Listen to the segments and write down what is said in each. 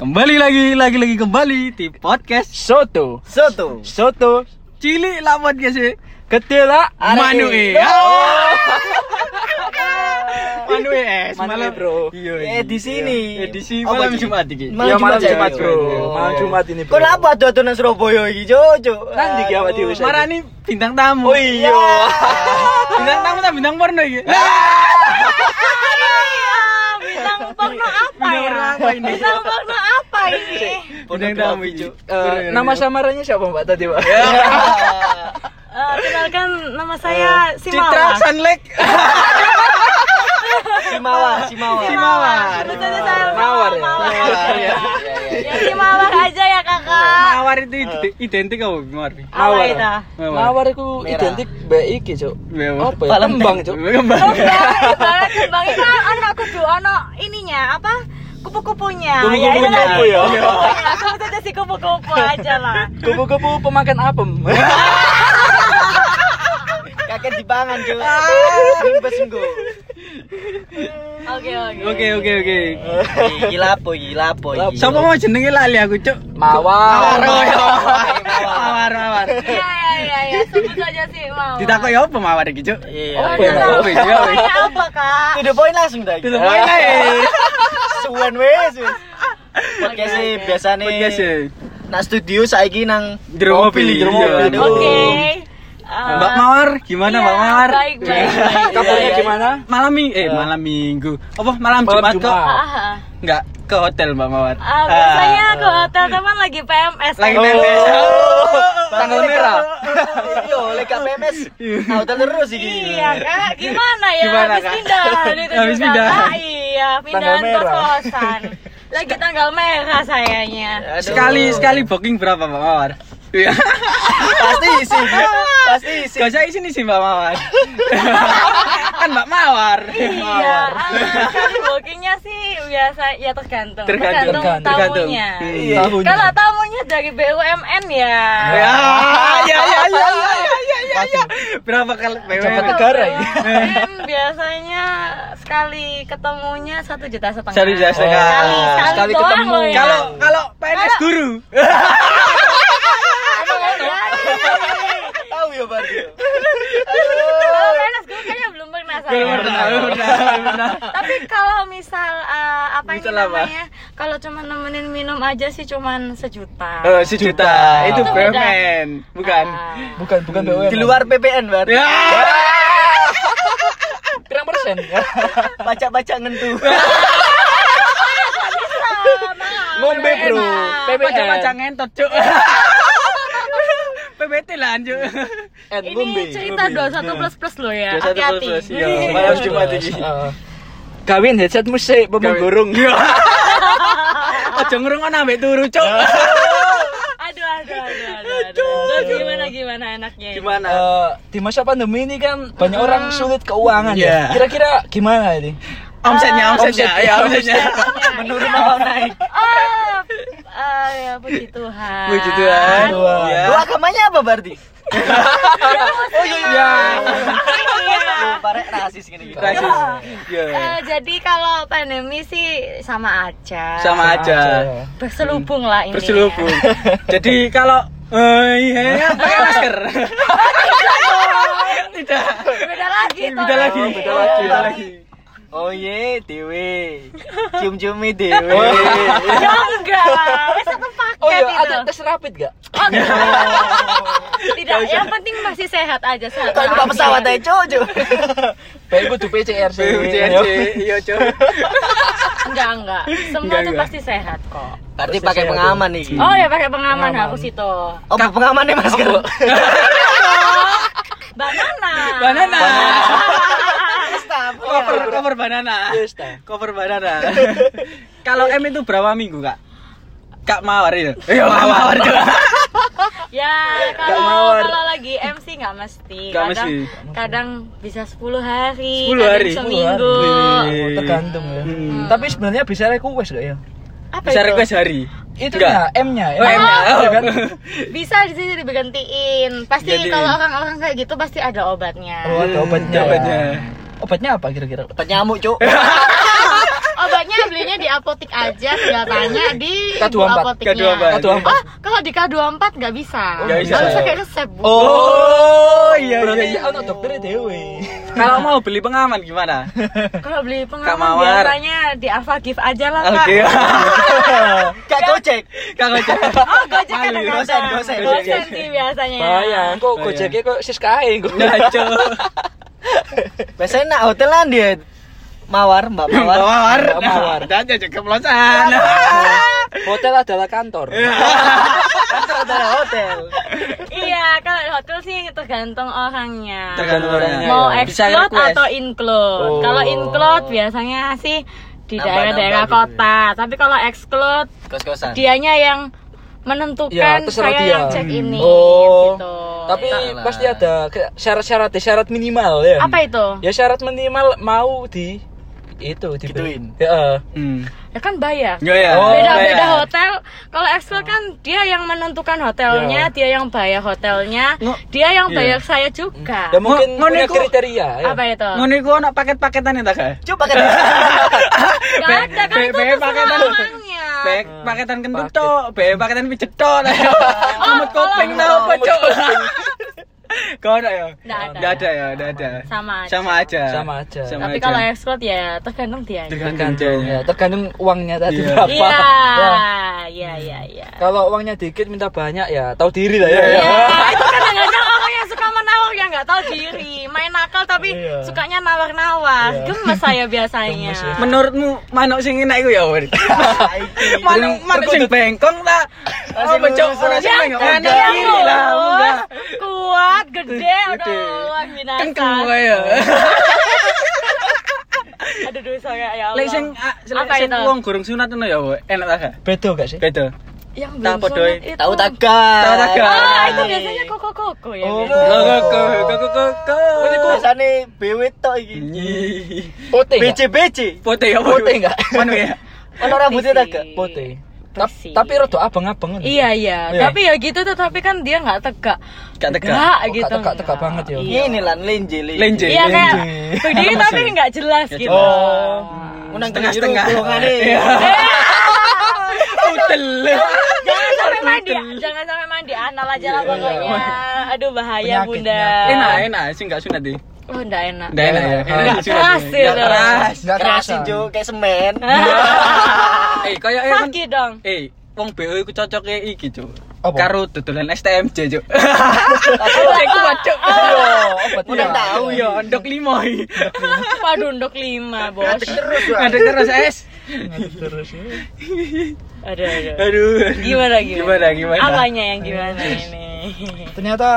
Kembali lagi, lagi-lagi kembali di podcast Soto, Soto. soto, Cilik lah podcast ya ketela Manue Oh. Manue es Manue, malam bro. Oh, Iya Eh di sini. iya. Edisi Apa malam ini? Jumat iki Iya, malam Jumat, ya? bro. Oh. Malam Jumat ini, bro. Kok apa dodonan Surabaya iki, Cuk? Nanti iki awak dhewe. Marani Oh. bintang tamu Oh iya. Bintang tamu tak bintang porno Ya. iki bintang porno apa Bintang ya? porno apa ini? Bintang porno apa ini? Bintang tamu iki Eh, nama samarannya siapa Mbak tadi, Mbak? Eh, kenalkan nama saya Citra Simawa. Sunlek Simawa, Simawa. Simawar. Sebut aja saya Mawar. Mawar ya? Mawar. Mawar, ya. Ya Simawar aja ya kakak. Mawar itu ide- identik apa Mawar? Apa Mawar. itu? Eh. Mawar itu Merah. identik baik iki, Cuk. Mewah. Apa ya? Palembang, Cuk. Kembang. Oh, ya, ibarat kembang itu kan ono kudu ono ininya apa? Kupu-kupunya. Kupu-kupunya, kupu ya. itulah, kupu-kupunya. Sebut aja Iya, si kupu-kupu aja lah. Kupu-kupu pemakan apem. Kakek dipangan, Cuk. Rimbes engko. Oke oke. Oke oke oke. Iki lapo, iki lapo iki. Sapa mau jenenge lali aku, Cuk? Mawar. Mawar. Mawar, mawar. Iya iya iya iya. Sebut aja si Mawar. Ditakok ya apa mawar iki, Cuk? Iya. Apa Apa ya? ya? Apa ya? Apa kak? To the point langsung dah. Itu poin ae. Suwen wes. wes. Podcast sih biasane Podcast ya. nak studio saiki nang Jero mobil, jero mobil. iya. Aduh. Oke. Eh, Mbak Mawar, gimana iya, Mbak Mawar? Baik, baik, baik. Kabarnya Iya, iya. gimana? Malam minggu, eh malam minggu. Apa malam Malam Jumat kok? Jumat. Ah, Enggak, ke hotel Mbak Mawar. ah, biasanya ke hotel teman lagi PMS. Lagi kan? PMS. Tanggal merah. Yo, lek gak PMS. Auto terus iki. Iya kak, gimana ya? Gimana, habis Kak? pindah, gitu Habis juga, pindah. Kak. iya, pindahan Tanggal ke merah. kosan. Lagi tanggal merah sayangnya. Aduh. Ah. Sekali sekali booking berapa Mbak Mawar? Iya. pasti isi. Pasti isi. Gak usah sini sih Mbak Mawar. kan Mbak Mawar. Iya, ah, kan bookingnya sih biasa ya tergantung, Tergantung, tergantung. tamunya. Iya. Tahunya. Kalau tamunya dari BUMN ya. Ya, ya, ya, ya, ya, ya, ya, ya. Berapa kali Jabat PWN? negara ya. BUMN biasanya sekali ketemunya satu juta setengah. Satu juta setengah. Sekali, sekali, Sekali doang ketemu. loh ya. Kalau kalau PNS guru. Tahu ya berarti. Kalau PNS gue kayaknya belum pernah saya. Belum pernah, belum pernah, belum pernah. Tapi kalau misal eh, apa ini Misal apa? namanya? Kalau cuma nemenin minum aja sih cuman sejuta. Eh, sejuta. Itu Itu beda. BUMN, bukan. Ah. Bukan, bukan BUMN. Di luar PPN berarti. Ya. berapa persen? Baca-baca ngentu. Ngombe, Bro. Pajak pajak ngentot, Cuk. PBT lah, Cuk. And Eh, ngombe. Ini cerita 21 plus plus loh ya. 21 plus Hati-hati. plus, iya. Malam Jumat ini. Eh, Kawin headsetmu sih, pemengurung. Ya. Ojo ngrungokno ambek turu, Cuk. Aduh, aduh, aduh, aduh, aduh. Terus gimana gimana enaknya? ini? Gimana? Eh, di masa pandemi ini kan banyak orang sulit keuangan Iya. ya. Kira-kira gimana ini? Omsetnya, omsetnya, Omset. ya omsetnya. Menurun apa naik? Oh, eh, ya puji Tuhan. Puji Tuhan. Dua. gitu Ya. Lu agamanya apa berarti? oh iya iya. Iya. Lu parek rasis gini. Rasis. Ya. Eh, jadi kalau pandemi sih sama aja. Sama Ah, aja. Berselubung lah ini. ya. Berselubung. Jadi kalau eh iya pakai masker. Tidak. ya. Beda lagi. Beda lagi, Tol. beda lagi, beda lagi. Oh iya, dewe. Cium-ciumi dewe. Ya enggak. Wes satu paket Oh iya, itu. ada tes rapid gak? Oh, enggak. Tidak, yang penting masih sehat aja. Sehat. Kalau numpak pesawat aja cocok. Baik kudu PCR sih. BUCC, iya, Cuk. Enggak, enak Enggak, Semua Hmm. tuh enggak. pasti sehat kok. Berarti pakai pengaman nih. Oh ya pakai pengaman aku situ. Oh, pengamannya masker. Banana. Banana. Stop. Cover cover banana. Yes, ta. Cover banana. Kalau M itu berapa minggu, Kak? Kak Mawar itu. Iya, Mawar. Ya Nggak kalau mawar. kalau lagi MC nggak Nggak mesti. kadang, mesti. Kadang bisa 10 hari. 10 kadang hari. Seminggu. Oh, tergantung ya. Hmm. Tapi sebenarnya bisa request gak ya? Apa Bisa itu? request hari. Itu Nggak. ya M-nya ya. Oh, M-nya. Oh. Ya kan? Bisa di sini digantiin. Pasti Gantiin. kalau orang-orang kayak gitu pasti ada obatnya. Oh, ada obatnya. Obatnya. Iya, Obatnya apa kira-kira? Penyamuk, Cuk. Obat sebaiknya belinya di apotek aja tinggal tanya di K24. ibu apoteknya K24. Aduh, ampun. oh kalau di K24 nggak bisa Nggak bisa. harus pakai resep bu Oh, iya Berarti iya. anak dokternya dewe. Kalau mau beli pengaman gimana? Kalau beli Kak pengalaman Mawar. biasanya di Alfa Gift aja lah kak. Oke. Kak Gojek. Kak Gojek. Oh gojek Malu, kadang-kadang. dosen, dosen, Dosen dosen. sih biasanya. Bayang, Iya. kok Bayang. gojeknya kok sis kae kok. Nah, Cuk. Biasanya nak hotelan dia Mawar, Mbak Mawar. Oh, Mawar. Mbak Mawar. Dan jajak keplosan. Hotel adalah kantor. Iya. Hotel hotel. Iya, kalau di hotel sih tergantung orangnya. Tergantung orangnya, Mau ya. Bisa exclude request. atau include. Oh. Kalau include biasanya sih Nambah-nambah di gitu ya. daerah-daerah Ah. kota. Tapi kalau exclude Kos-kosan. dianya yang Ya, menentukan terserah saya dia. yang check ini Oh. gitu. Tapi Entahlah. pasti ada ke- syarat-syarat syarat minimal ya. apa itu? Ya syarat minimal mau di itu di Gituin. Ya, Hmm. Ya kan bayar. Yo ya. Oh, Beda-beda bayar. hotel. Kalau ekskul kan dia yang menentukan hotelnya, Iya. dia yang bayar hotelnya, dia yang Iya. bayar saya juga. dan Ya, mungkin Ngo- punya ngoniku- kriteria. ya. Apa itu? Ngono iku ono paket-paketan enggak, Kak? Coba kan. Gak ada kan Be- itu be- terserah paketan. orangnya. Bek paketan kentut Ah. Paket. tok, bek paketan pijet tok. Oh, Kumut kuping tau apa, Cuk? Kau ada ya? Nggak ada. Nggak ada ya, enggak ada. Sama aja. Sama aja. Sama aja. Tapi kalau ekskul ya tergantung dia. tergantung ya, tergantung uangnya tadi Iya. berapa. Iya, Ya. iya, iya, iya. Kalau uangnya dikit minta banyak ya, tahu diri lah ya. Iya, itu kadang-kadang orang yang suka menawar yang nggak tahu diri, main nakal tapi Iya. sukanya nawar-nawar. Gemes saya biasanya. Gemes ya. Menurutmu manuk sing enak iku ya, Wen? Manuk manuk sing bengkong ta? Oh, becok lurus, ora sing Yang bengkong. Iya, gede, Anak kiri lah, lurus, munggah. kuat, gede, Gede. udah luar binasa. Kengkeng kowe ya. Aduh, dosa kayak ya Allah. Lek sing ah, lek Apa sing itu? wong gorong sunat ngono ya, Wen. Enak ta, Kak? Bedo gak sih? Beda. yang Tak belum podoy. sunat itu. Tahu tagar. Tahu tagar. Ah, itu biasanya koko-koko ya. Oh, biasanya. Kok kok kok kok kok. Biasane BW tok Hmm. iki. Nyi. Pote gak? BC-BC. Putih apa? Putih nggak? Manu ya? Ono rambutnya tak gak? Pote. Ta- Bersih. Tapi rada abang-abang kan? Iya iya, Iya. tapi ya gitu tuh, tapi kan dia nggak tegak. Nggak tegak. Oh, nggak gitu. tegak- tegak nggak. banget ya. Iya. Ini lan lenje lenje. Lenje. Iya kayak Lenje. berdiri tapi nggak jelas Nggak gitu. jelas. Unang Setengah-setengah. Bolongane. Iya. Utel. Jangan sampai mandi, ya. jangan sampai mandi anal aja lah pokoknya. Aduh bahaya Penyakit, bunda. Enak, enak. Sih nggak sunat deh. Oh nggak enak. Nggak enak ya. Nggak Enak sunat, keras deh. sih, Nggak loh. keras. Nggak kerasa. Kerasin jo kayak semen. Eh, kayak eh, kan- Sakit dong. eh, wong BO iku cocoke iki, Cuk. Apa? Karo dodolan STMJ, Cuk. Cek kuat, Cuk. Iya, obat Udah ya. tahu Tahu ya, ndok limo. iki. Waduh ndok lima bos. Ngadeg terus es. Terus ya. Aduh Aduh. aduh. aduh. Gimana gimana? Gimana gimana? Apanya yang gimana ini? Ternyata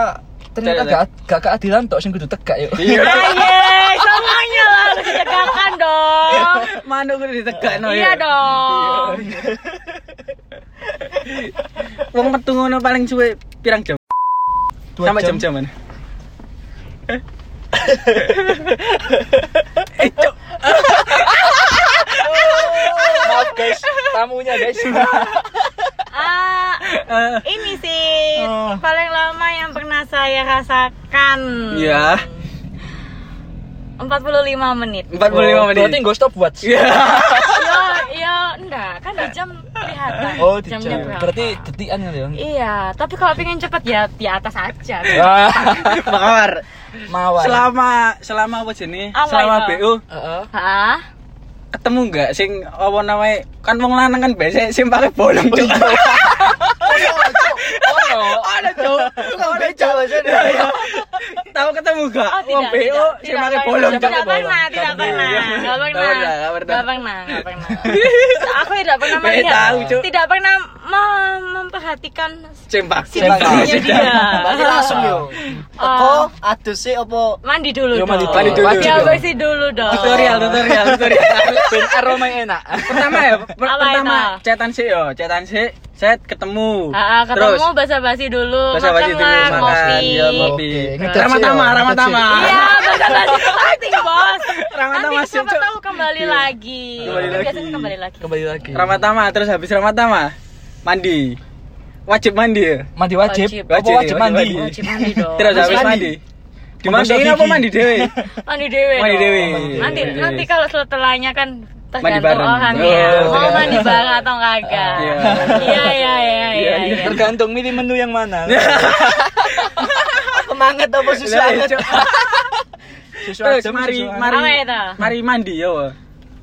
ternyata Ternyata. gak, gak keadilan tok sing kudu tegak yuk. Iya. Aye, semuanya lah harus ditegakkan dong. Manuk kudu ditegakno Iya dong. Wong metu ngono paling suwe pirang jam? Dua Sampai jam. jam-jaman. Eh, Cuk. Maaf guys, tamunya guys. Ah, Eh, ini sih Oh. paling lama yang pernah saya rasakan. Ya, 45 menit. 45 Oh, menit. Berarti gue stop watch. Iya. Ya, ya enggak, kan di jam kelihatan. Oh, di Jamnya jam. berapa. Berarti detikan kan ya. Iya, tapi kalau pengen cepet ya di atas aja. Ah, Pak Mawar, Mawar. selama selama apa jenis? Apa Selama itu? BU Heeh. Hah? ketemu nggak sing apa namanya? Kan wong lanang kan biasa sing pakai bolong. Cuk. Oh, iya. Ono. Ada, Cuk. Tukang beca biasanya. Tahu ketemu nggak? Oh, Wong tidak, BU tidak, sing tidak pakai pernah, bolong. Cuk. Tidak pernah, tidak pernah, tidak Nggak pernah, pernah, nggak pernah. tidak pernah, nggak pernah. Aku tidak pernah Eh, melihat, tahu, Cuk. tidak pernah mem- memperhatikan Cempak. Cempak. situasinya Cempak. dia. Berarti langsung yo. Ah. Teko aduse apa? Mandi dulu Yo, dong. mandi Mandi dulu. Biar dong. bersih dulu dong. Tutorial, tutorial, tutorial. Ben aroma yang enak. pertama ya per- Apa pertama itu? cetan sih yo cetan sih set ketemu Ah, ah, terus ketemu basa-basi dulu, basa-basi makan lah, makan, kopi. ya, ngopi Oke, ngecet ramatama sih yo, ramatama Iya, basa-basi itu penting, Bos. Ramadhan Nanti masih, siapa Cuk. tahu kembali lagi. Iya. Kembali Itu lagi. Biasanya kembali lagi. Kembali lagi. Iya. ramatama terus habis ramatama mandi wajib mandi ya Mandi wajib. Wajib. Apa wajib Wajib mandi? mandi. Wajib mandi dong. terus habis mandi. mandi Membusuk dimandiin apa gigi. mandi dewe Mandi dewe. Mandi dong. dewe. Nanti Mandi nanti dewe. kalau setelahnya kan Mandi tergantung bareng. orangnya Oh, mau tergantung. mandi bareng atau kagak Iya. iya iya iya iya iya. Tergantung milih menu yang mana. Kemanget apa susu iya, anget? Susu adem, susu Eh, mari anget. mari Apa itu? mari mandi ya. wah.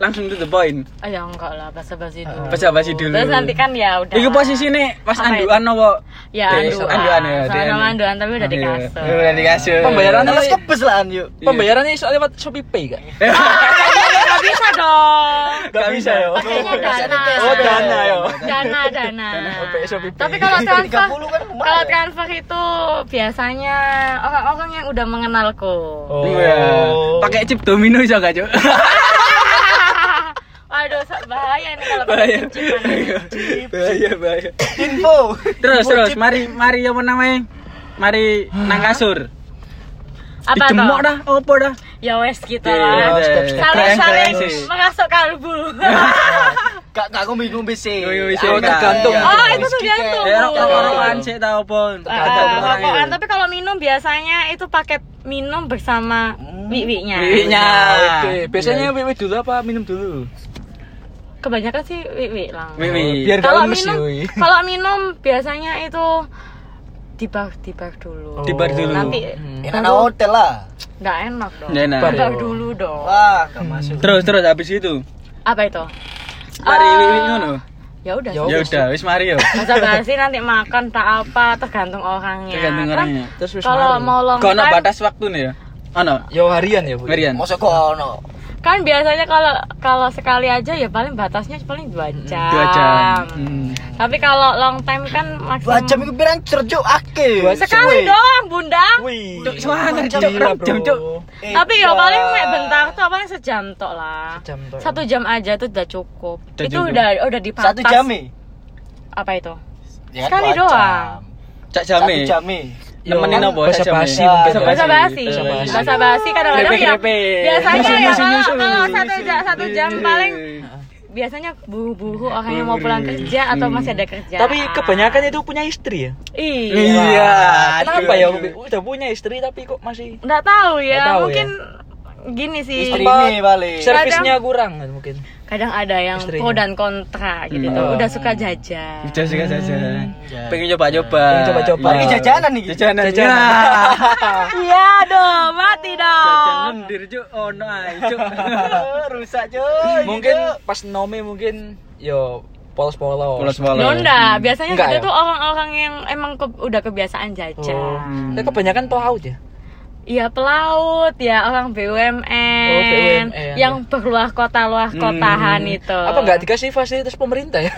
Langsung to the point. oh, ya enggak lah basa basi dulu Basa-basi dulu. terus nanti kan ya udah Iku posisine pas Apa anduan apa? ya Eh, anduan anduan ya, soalnya anduan. anduan tapi udah di Iya. kasur Udah di kasur. Pembayarannya Terus kebes lah yuk. Iya. Pembayarannya soal lewat Shopee Pay kan? Gak bisa dong Gak bisa ya. pakainya dana Oh, dana ya. dana dana oh, Oke, Shopee Pay. tapi kalau transfer 30 kan lumayan. kalau transfer itu biasanya orang-orang yang udah mengenalku Oh. Iya. Pakai chip domino iso gak, Cuk? Waduh, sa- bahaya nih kalau Bahaya. pakai cincin. Bahaya, bahaya. Info. Terus, terus mari mari apa namanya? Mari nang kasur. Apa Dijemok toh? dah, opo dah. Ya wes gitu Iya, lah. iya, iya. Saling-saling Keren, keren. mengasuk kalbu. Kak kak ngombe-ngombe sih. Ngombe-ngombe sih, Aku Kak. tergantung. Oh, itu tergantung. Ya Iya. rokok-rokokan sik ta opo. Ah, rokokan. tapi kalau minum biasanya itu paket minum bersama wiwinya. Hmm. Wiwinya. Oke, Iya. biasanya wiwi dulu apa minum dulu? Kebanyakan sih wiwi lah. Mimi. Oh, Biar gak Kalau lemes minum, yoi. kalau minum biasanya itu di bar di Oh. bar dulu. Di bar dulu. Nanti Hmm. Enak nang hotel lah. nggak enak dong. Nggak enak. Di bar dulu dong. Wah, gak Hmm, masuk. Terus terus habis itu. Apa itu? Mari Eh, wiwi ngono. Ya udah. Ya udah, wis mari yo. Masa basi nanti makan tak apa tergantung orangnya. Tergantung Kan orangnya. Terus wis Kalau mari. mau long Kono time, batas waktu nih ya. Ono. Yo harian ya, Bu. Merian. Masa kono. kan biasanya kalau kalau sekali aja ya paling batasnya paling dua jam. Mm. Dua jam. Hmm. Tapi kalau long time kan maksimal. Dua jam itu pirang cerjuk ake. Sekali doang, Bunda. Wih. Cuk, semangat, Gila, Cuk, bro. jam, Cuk. Eh, Tapi ya dah. paling mek bentar tuh paling sejam tok lah. Sejam tok. Satu jam aja itu udah cukup. Udah itu cukup. udah udah di Satu batas. jam eh? Apa itu? Ya, Sekali dua doang. jam. Cak Satu jame. jam eh. Nemenin Yo, apa? Bahasa Cak jame? basi Ah, mungkin. Basa Bahasa basi. Basa basi. Bahasa basi kadang-kadang ya. Grepe-grepe. Biasanya ya Nyusul, kalau nyusul, nyusul, kalau satu jam nyusul. Eh. satu jam paling biasanya buru-buru orang yang mau pulang kerja atau masih ada kerja. Tapi kebanyakan itu punya istri ya. iya. Iya. Kenapa ya? Udah punya istri tapi kok masih Nggak tahu ya, Nggak tahu mungkin gini sih. Istri Apa? ini Iya. balik. servisnya kurang kan mungkin. Kadang ada yang Istrinya. pro dan kontra gitu Hmm. tuh. Oh. Udah suka jajan. Udah sih jajan. Pengen coba-coba. Pengen coba-coba. Iya. Ini jajanan nih. Jajanan. Jajanan. Iya. Iya dong, mati Jajan dong. lendir cuk. Ono ae cuk. Eh, Rusak cuy. Mungkin pas nome mungkin yo polos-polos. Polos-polos. Nonda, biasanya Nggak kita ya? tuh orang-orang yang emang ke- udah kebiasaan jajan. Tapi kebanyakan pelaut ya. Iya pelaut, ya orang BUMN, Oh, BUMN. yang berluar kota luar kotahan itu. Hmm. Apa nggak dikasih fasilitas pemerintah ya?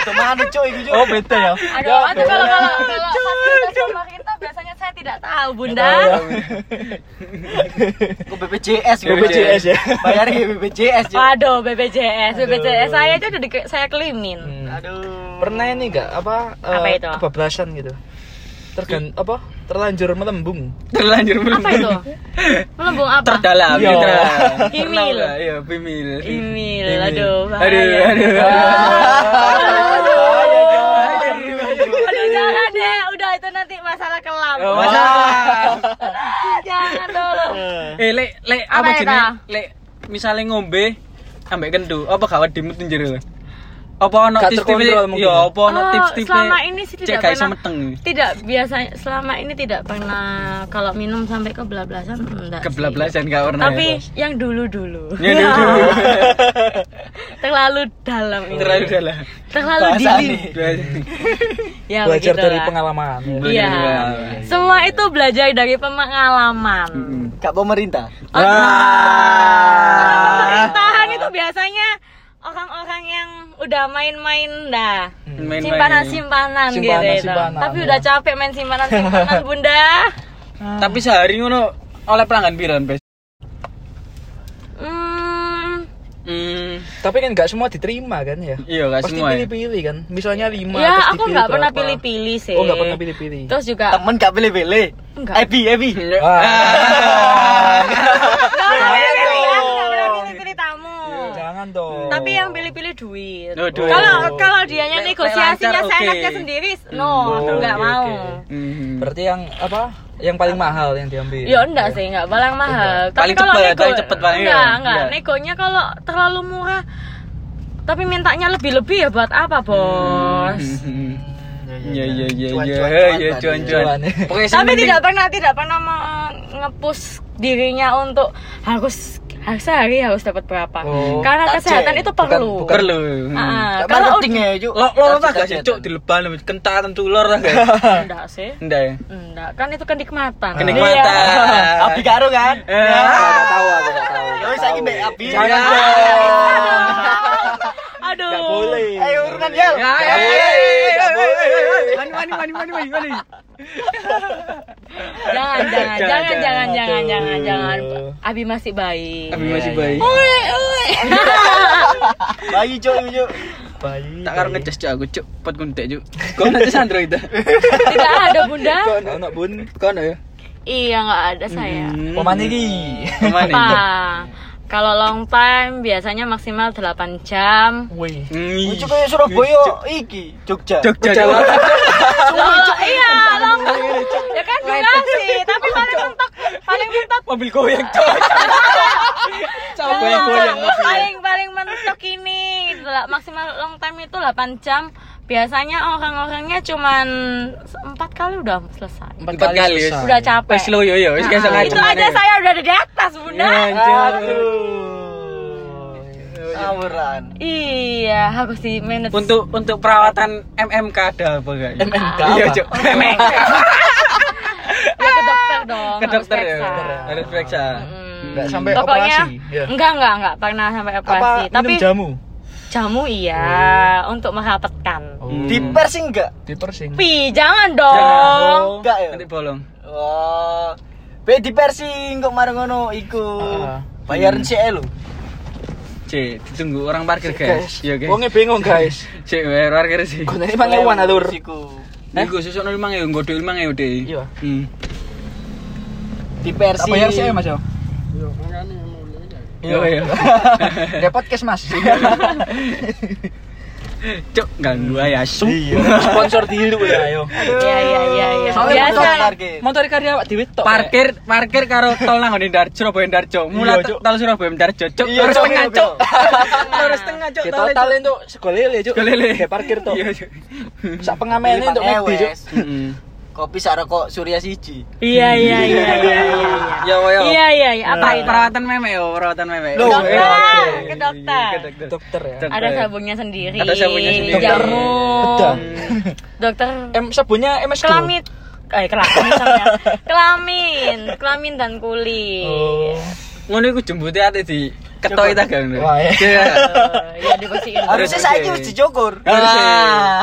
Itu mana cuy itu cuy. beda ya. Aduh, aduh kalau kalau kalau fasilitas pemerintah biasanya saya tidak tahu, Bunda. ya. Ke BPJS, Ke BPJS ya. Bayar ke BPJS. cuy. Waduh, BPJS, BPJS saya aja udah di, saya kelimin. Hmm. Hmm. Aduh. Pernah ini nggak apa, eh, Apa itu? kebablasan gitu. Tergan apa? Terlanjur melembung. Terlanjur Apa itu? Melembung apa? Terdalam, Iya. Mitra. Himil. Pernah nggak? Iya, pimil. Imil, aduh, bahaya. Aduh, aduh. Aduh, Oh, aduh. aduh, jangan deh, udah itu nanti masalah kelam. Oh, Masalah. Ah, Jangan dulu. Eh, lek lek Apa apa ya, jenenge? Ta? Lek misale ngombe ambek kendu, apa gawat dimut ning jero? Apa ono Gak tips-tips? terkontrol mungkin. Ya, apa ono Oh, tips-tips? selama ini sih cek tidak gak iso pernah. meteng. Tidak biasanya selama ini tidak pernah kalau minum sampai kebelablasan enggak. sih. Kebelablasan kan gak pernah. Tapi yang dulu-dulu. ya Ya, dulu. Terlalu dalam ini. Terlalu dalam. Terlalu Bahasa dini. nih. Ya, Belajar dari begitulah. pengalaman. ya. Iya. Semua itu belajar dari pengalaman. Kak pemerintah. Orang Wah. Pemerintahan itu biasanya orang-orang yang udah main-main dah. Main-main. Simpanan-simpanan gitu Simpanan, itu. simpanan, Tapi ya. udah capek main simpanan-simpanan, Bunda. Tapi sehari ngono oleh pelanggan piran, Bes? Hmm. Hmm, Tapi kan nggak semua diterima kan ya? iya gak Pasti semua. ya? Iya. pilih-pilih kan. Misalnya lima. Ya, terus aku dipilih nggak pernah berapa. pilih-pilih sih. Oh nggak pernah pilih-pilih. Eh, Terus Ah. juga Temen gak pilih-pilih. Enggak. Ebi, Ebi. Iya, Ah. Wah. Nggak pernah pilih-pilih, aku nggak pernah pilih-pilih tamu. Jangan dong. Tapi yang pilih-pilih duit. Oh, duit. Kalau kalau dianya Lek- lek negosiasinya lancar, oke. seenaknya sendiri, no, aku Oh, nggak oke, mau. oke. Hmm. Berarti yang apa? yang paling mahal yang diambil. Ya enggak sih, enggak paling mahal. Paling cepet, paling cepet paling ya. enggak, enggak. Enggak. Negonya kalau terlalu murah tapi mintanya lebih-lebih ya buat apa, Bos? Hmm. Iya iya iya Cuan, iya cuan, iya tadi. cuan cuan. Cuan. Pokoknya sing Tapi penting- tidak pernah tidak pernah me- ngepush dirinya untuk harus harus sehari harus dapat berapa. Oh, Karena tak kesehatan cek. itu perlu. bukan- perlu. Ah, Gak kalau marketing ya, Cuk. Nah, Lo lo Target, tak gak sih target. cuk di leban kentatan tuh lor tak gak? enggak sih. Enggak ya. Enggak, kan itu Iya. kenikmatan. Kenikmatan. Abi karo kan? Ah. Eh, Enggak tahu aku enggak tahu. Yo saiki mbek Ya. Abi. Jangan Iya. Aduh. Enggak boleh. Ayo urunan ya. Ya, eh, eh, eh, eh, eh, eh, eh, Mani mani mani mani mani mani. Jangan, jangan, Jangan, jangan, jangan, jangan, jangan, jangan. Aduh. Abi masih baik. Tapi masih baik. Bayi Cuk, ini, Cuk. Bayi. Tak karo ngecas cuk aku cuk pot kuntek cuk. Kok ngecas Android dah? Tidak ada bunda. Kok ono bun? Kau ya? Iya nggak ada saya. Hmm. Pemane iki. Pemane. Apa? Kalau long time biasanya maksimal 8 jam. Wih. Hmm. Cuk kayak Surabaya iki, Jogja. Jogja. Jogja. Loh, iya, long Ya kan durasi, tapi paling mentok paling mentok Mobil goyang cuk. Coba goyang goyang. paling paling mentok ini Lah, maksimal long time itu 8 jam. Biasanya orang-orangnya cuman empat kali udah selesai. Empat kali. wis. Udah capek. Wes lo yo yo wis Nah, kesel itu aja saya Ah, udah ada di atas, Bunda. Iya, Aduh. Awuran. Iya, harus di manage. Untuk untuk perawatan MMK ada apa enggak? MMK Iya, apa? Cuk. MMK. ya ke dokter dong. Ke dokter ya. harus periksa. Harus periksa. Hmm. Nggak sampai Pokoknya, operasi, ya? Enggak, enggak, enggak pernah sampai Apa operasi. Tapi minum jamu? Oh. jamu iya untuk merapatkan. Hmm. Di pers enggak? di Oh. persing. Pi, Jangan, jangan dong. Enggak ya? Nanti bolong. Oh. Be di persing kok marang ngono iku. Ah. Bayaran eh, sih lu. C, ditunggu orang parkir guys. Iya guys. Wonge bingung guys. C, bayar parkir sih. Gunane pangewan alur. Siku. Iku sesuk nol mang ya, nggodok mang ya udah. Iya. Hmm. Di persing. Tak bayar sih Mas yo. Iya iya. Ada podcast Mas. Cuk, ganggu ya su. Iya. Sponsor dulu ya ayo. Iya, iya, iya, iya. Soalnya Biasa. motor- target. Motor karya awak dhewe tok. ya. Parkir, parkir karo tol nang ngene Darjo, Surabaya Darjo. Mulai Iya, Cuk. tol Surabaya Darjo, Cuk. Iya, Terus Cuk, tengah, iya, Cuk. Nah, Terus tengah, Cuk. Di tolnya, Cuk. total itu segolele cuk. Golele. Di parkir tok. Iya, Cuk. Sak pengamelnya untuk Lipang McD cuk. ewes. Mm-mm. Kopi sak rokok Surya siji. Iya, iya, iya, iya, iya. Ya, ya. Iya, iya, iya. Apa Pra- itu? Perawatan meme, oh, perawatan meme. Nah. Loh, eh. Iya, dokter, iya, ke iya, dokter. iya, ke dokter. Dokter ya. Ada sabunnya sendiri. Ada sabunnya sendiri. Jamu. Betul. Hmm. Dokter Em sabunnya MS kelamit. Eh, kelamin sampean. Kelamin, kelamin dan kulit. Oh. Ngono iku jembute ate di ketoi ta gak ngono. Wah, Iya. iya. Kan Eh, ya dibersihin. Harusnya Harusnya. saiki wis dicukur. Harusnya.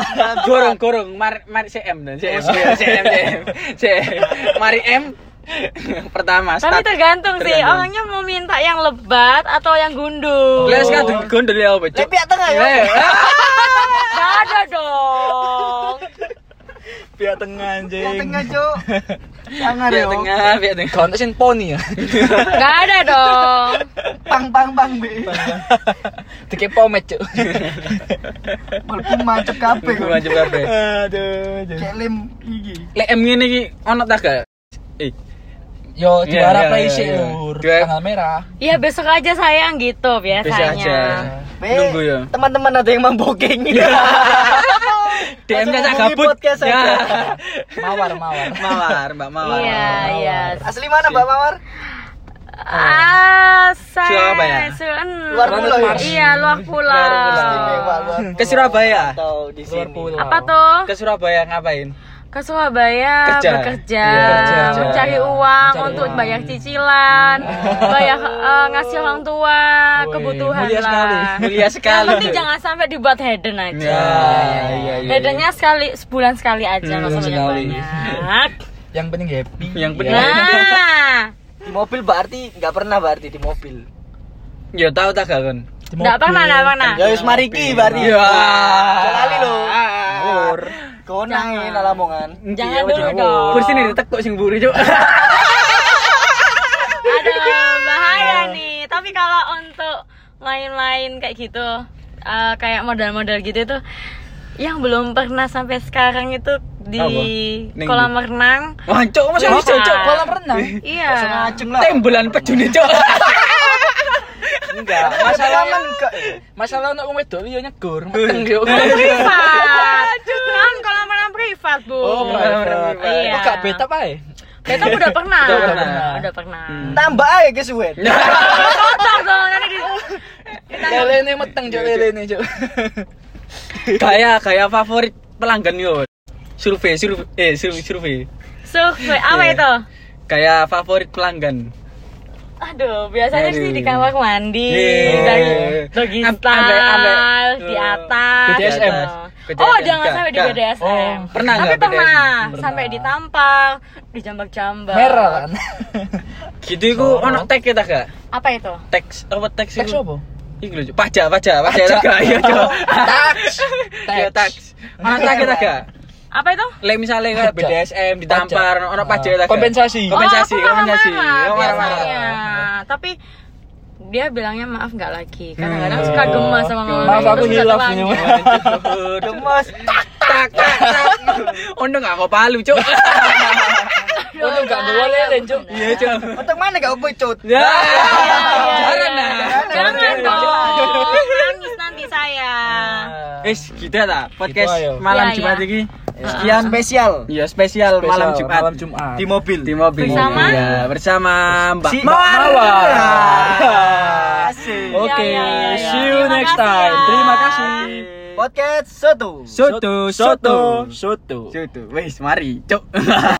Ah. Gorong gorong mar mar CM dan CM iya, CM CM. CM. Mari M pertama start. Tapi tergantung, sih, Tergantung. orangnya mau minta yang lebat atau yang gundul. Lah sekarang di gondol ya apa? Cuk? Lah, pihak tengah, ya. Iya. Gak ada dong. Pihak tengah anjing. Yang tengah, Cuk. Sangar Pihak yo. tengah, pihak tengah. Kau sing poni ya. Gak ada dong. Pang pang pang be. Dikit pomet cuk. Mlebu macet kabeh Iku kok. wajib kabeh. Aduh. Cuk. Kayak lem iki. Lek M ngene iki ono ta gak? Eh, Yo Iya, juara iya, play iya, sih iya. Lur. Dua- tanggal merah. Ya besok aja sayang gitu bisa biasanya. aja. Be, Nunggu ya. Teman-teman ada yang memboking. Ya. DM-nya tak Langsung hubungi gabut. podcast Ya. aja. Mawar mawar. Mawar, Mbak Mawar. Iya, iya. Asli mana Mbak Mawar? Ah, saya Surabaya. Sun. ya? Luar pulau ya? Iya, luar pulau. Istimewa, luar Ke Surabaya. pulau Atau di Ah. Luar sini. pulau. Apa tuh? Ke Surabaya ngapain? Ke Surabaya Kerja. bekerja, Iya, kerja. mencari Iya, uang mencari untuk uang. Iya. bayar cicilan, bayar eh, ngasih orang tua, Wih, kebutuhan mulia lah. sekali, mulia sekali. Yang penting jangan sampai dibuat hedon Ya, aja. iya, iya, Hedonnya sekali sebulan sekali aja, nggak Sebulan usah Hmm, sekali. Iya. banyak. Yang penting happy. Iya. Yang penting- Nah, Di mobil berarti nggak pernah berarti di mobil. Ya tahu tak gak kon? Di nggak mobil. pernah, nggak pernah. Iya, Ya wis mari ki berarti. Iya. Jalali lo. Ah, Ngawur. Kau nangin Jangan. alamongan. iya, Jangan dulu dong. Iya, Kursi ini ditekuk sing buri, Cuk. Aduh, bahaya nih. Tapi kalau untuk main-main kayak gitu, eh, kayak modal-modal gitu tuh, yang belum pernah sampai sekarang itu di Apa? Ning kolam ndi? renang Wancok masa Wah. iso, Cok? Kolam renang. iya Ngajeng lah. Tembelan pejune, Cok. Enggak, masalah kan enggak. Masalah untuk wong wedok yo nyegur, meteng yo. privat kan kolam renang privat bu Oh, kolam renang privat. iya Kok gak beta pae? beta udah pernah Udah pernah. udah pernah Tambah aja kesuwen. kotor dong nanti di- Lelene meteng Iya, cuk, lelene cuk. Gaya gaya favorit pelanggan yo. Survei, survei, eh survei, survei. survei apa Iya. itu Gaya favorit pelanggan. Aduh, biasanya Aduh. sih di kamar mandi, Iya. dari doggy Am- ambe- style, ambe- di atas. BDSM. gitu. Oh, BDSM. jangan sampai di Enggak. BDSM. Oh, pernah Tapi nggak BDSM? pernah, Pernah. sampai ditampar, dijambak-jambak. Merah kan. Gitu iku ono tag kita gak? Apa itu? Teks apa teks Teks iku? opo? Iku lho, Cok. pajak, pajak, pajak gak ya, Cok. Touch. Ya teks. Ono tag e kita gak? Apa itu? Lek misalnya kayak Pajak. BDSM ditampar, ono pajak kita gak? Ah. Kompensasi. Kompensasi, oh, aku kompensasi. marah-marah Oh, marah-marah. biasanya. Tapi dia bilangnya maaf nggak lagi. Kadang-kadang Hmm. suka gemas sama Gemes. ngomong. Maaf aku Terus hilaf satu ini. lagi. Gemes. tak tak tak. Ono gak kok palu, Cok. Aduh, Untung nggak bahaya, boleh, Len, Cuk. bener. Iya, Cok. Untuk mana gak upecut? Ya. iya, ya, Jarang iya. nah. Jangan Iya. dong, nangis nanti saya. Wis kita ta podcast Gitu, ayo. malam Iya, Jumat iya. ini. Sekian spesial. Ya spesial, Spesial, malam Jumat. malam Jumat. Di mobil. Di mobil. Bersama? Iya, bersama Mbak Si Mbak Mawar. Mawar. Asik. Oke, Iya, iya, iya, iya. see you Terima next kasih time. ya. Terima kasih. Podcast satu. Soto, soto. soto. Soto. Wis, mari, cuk.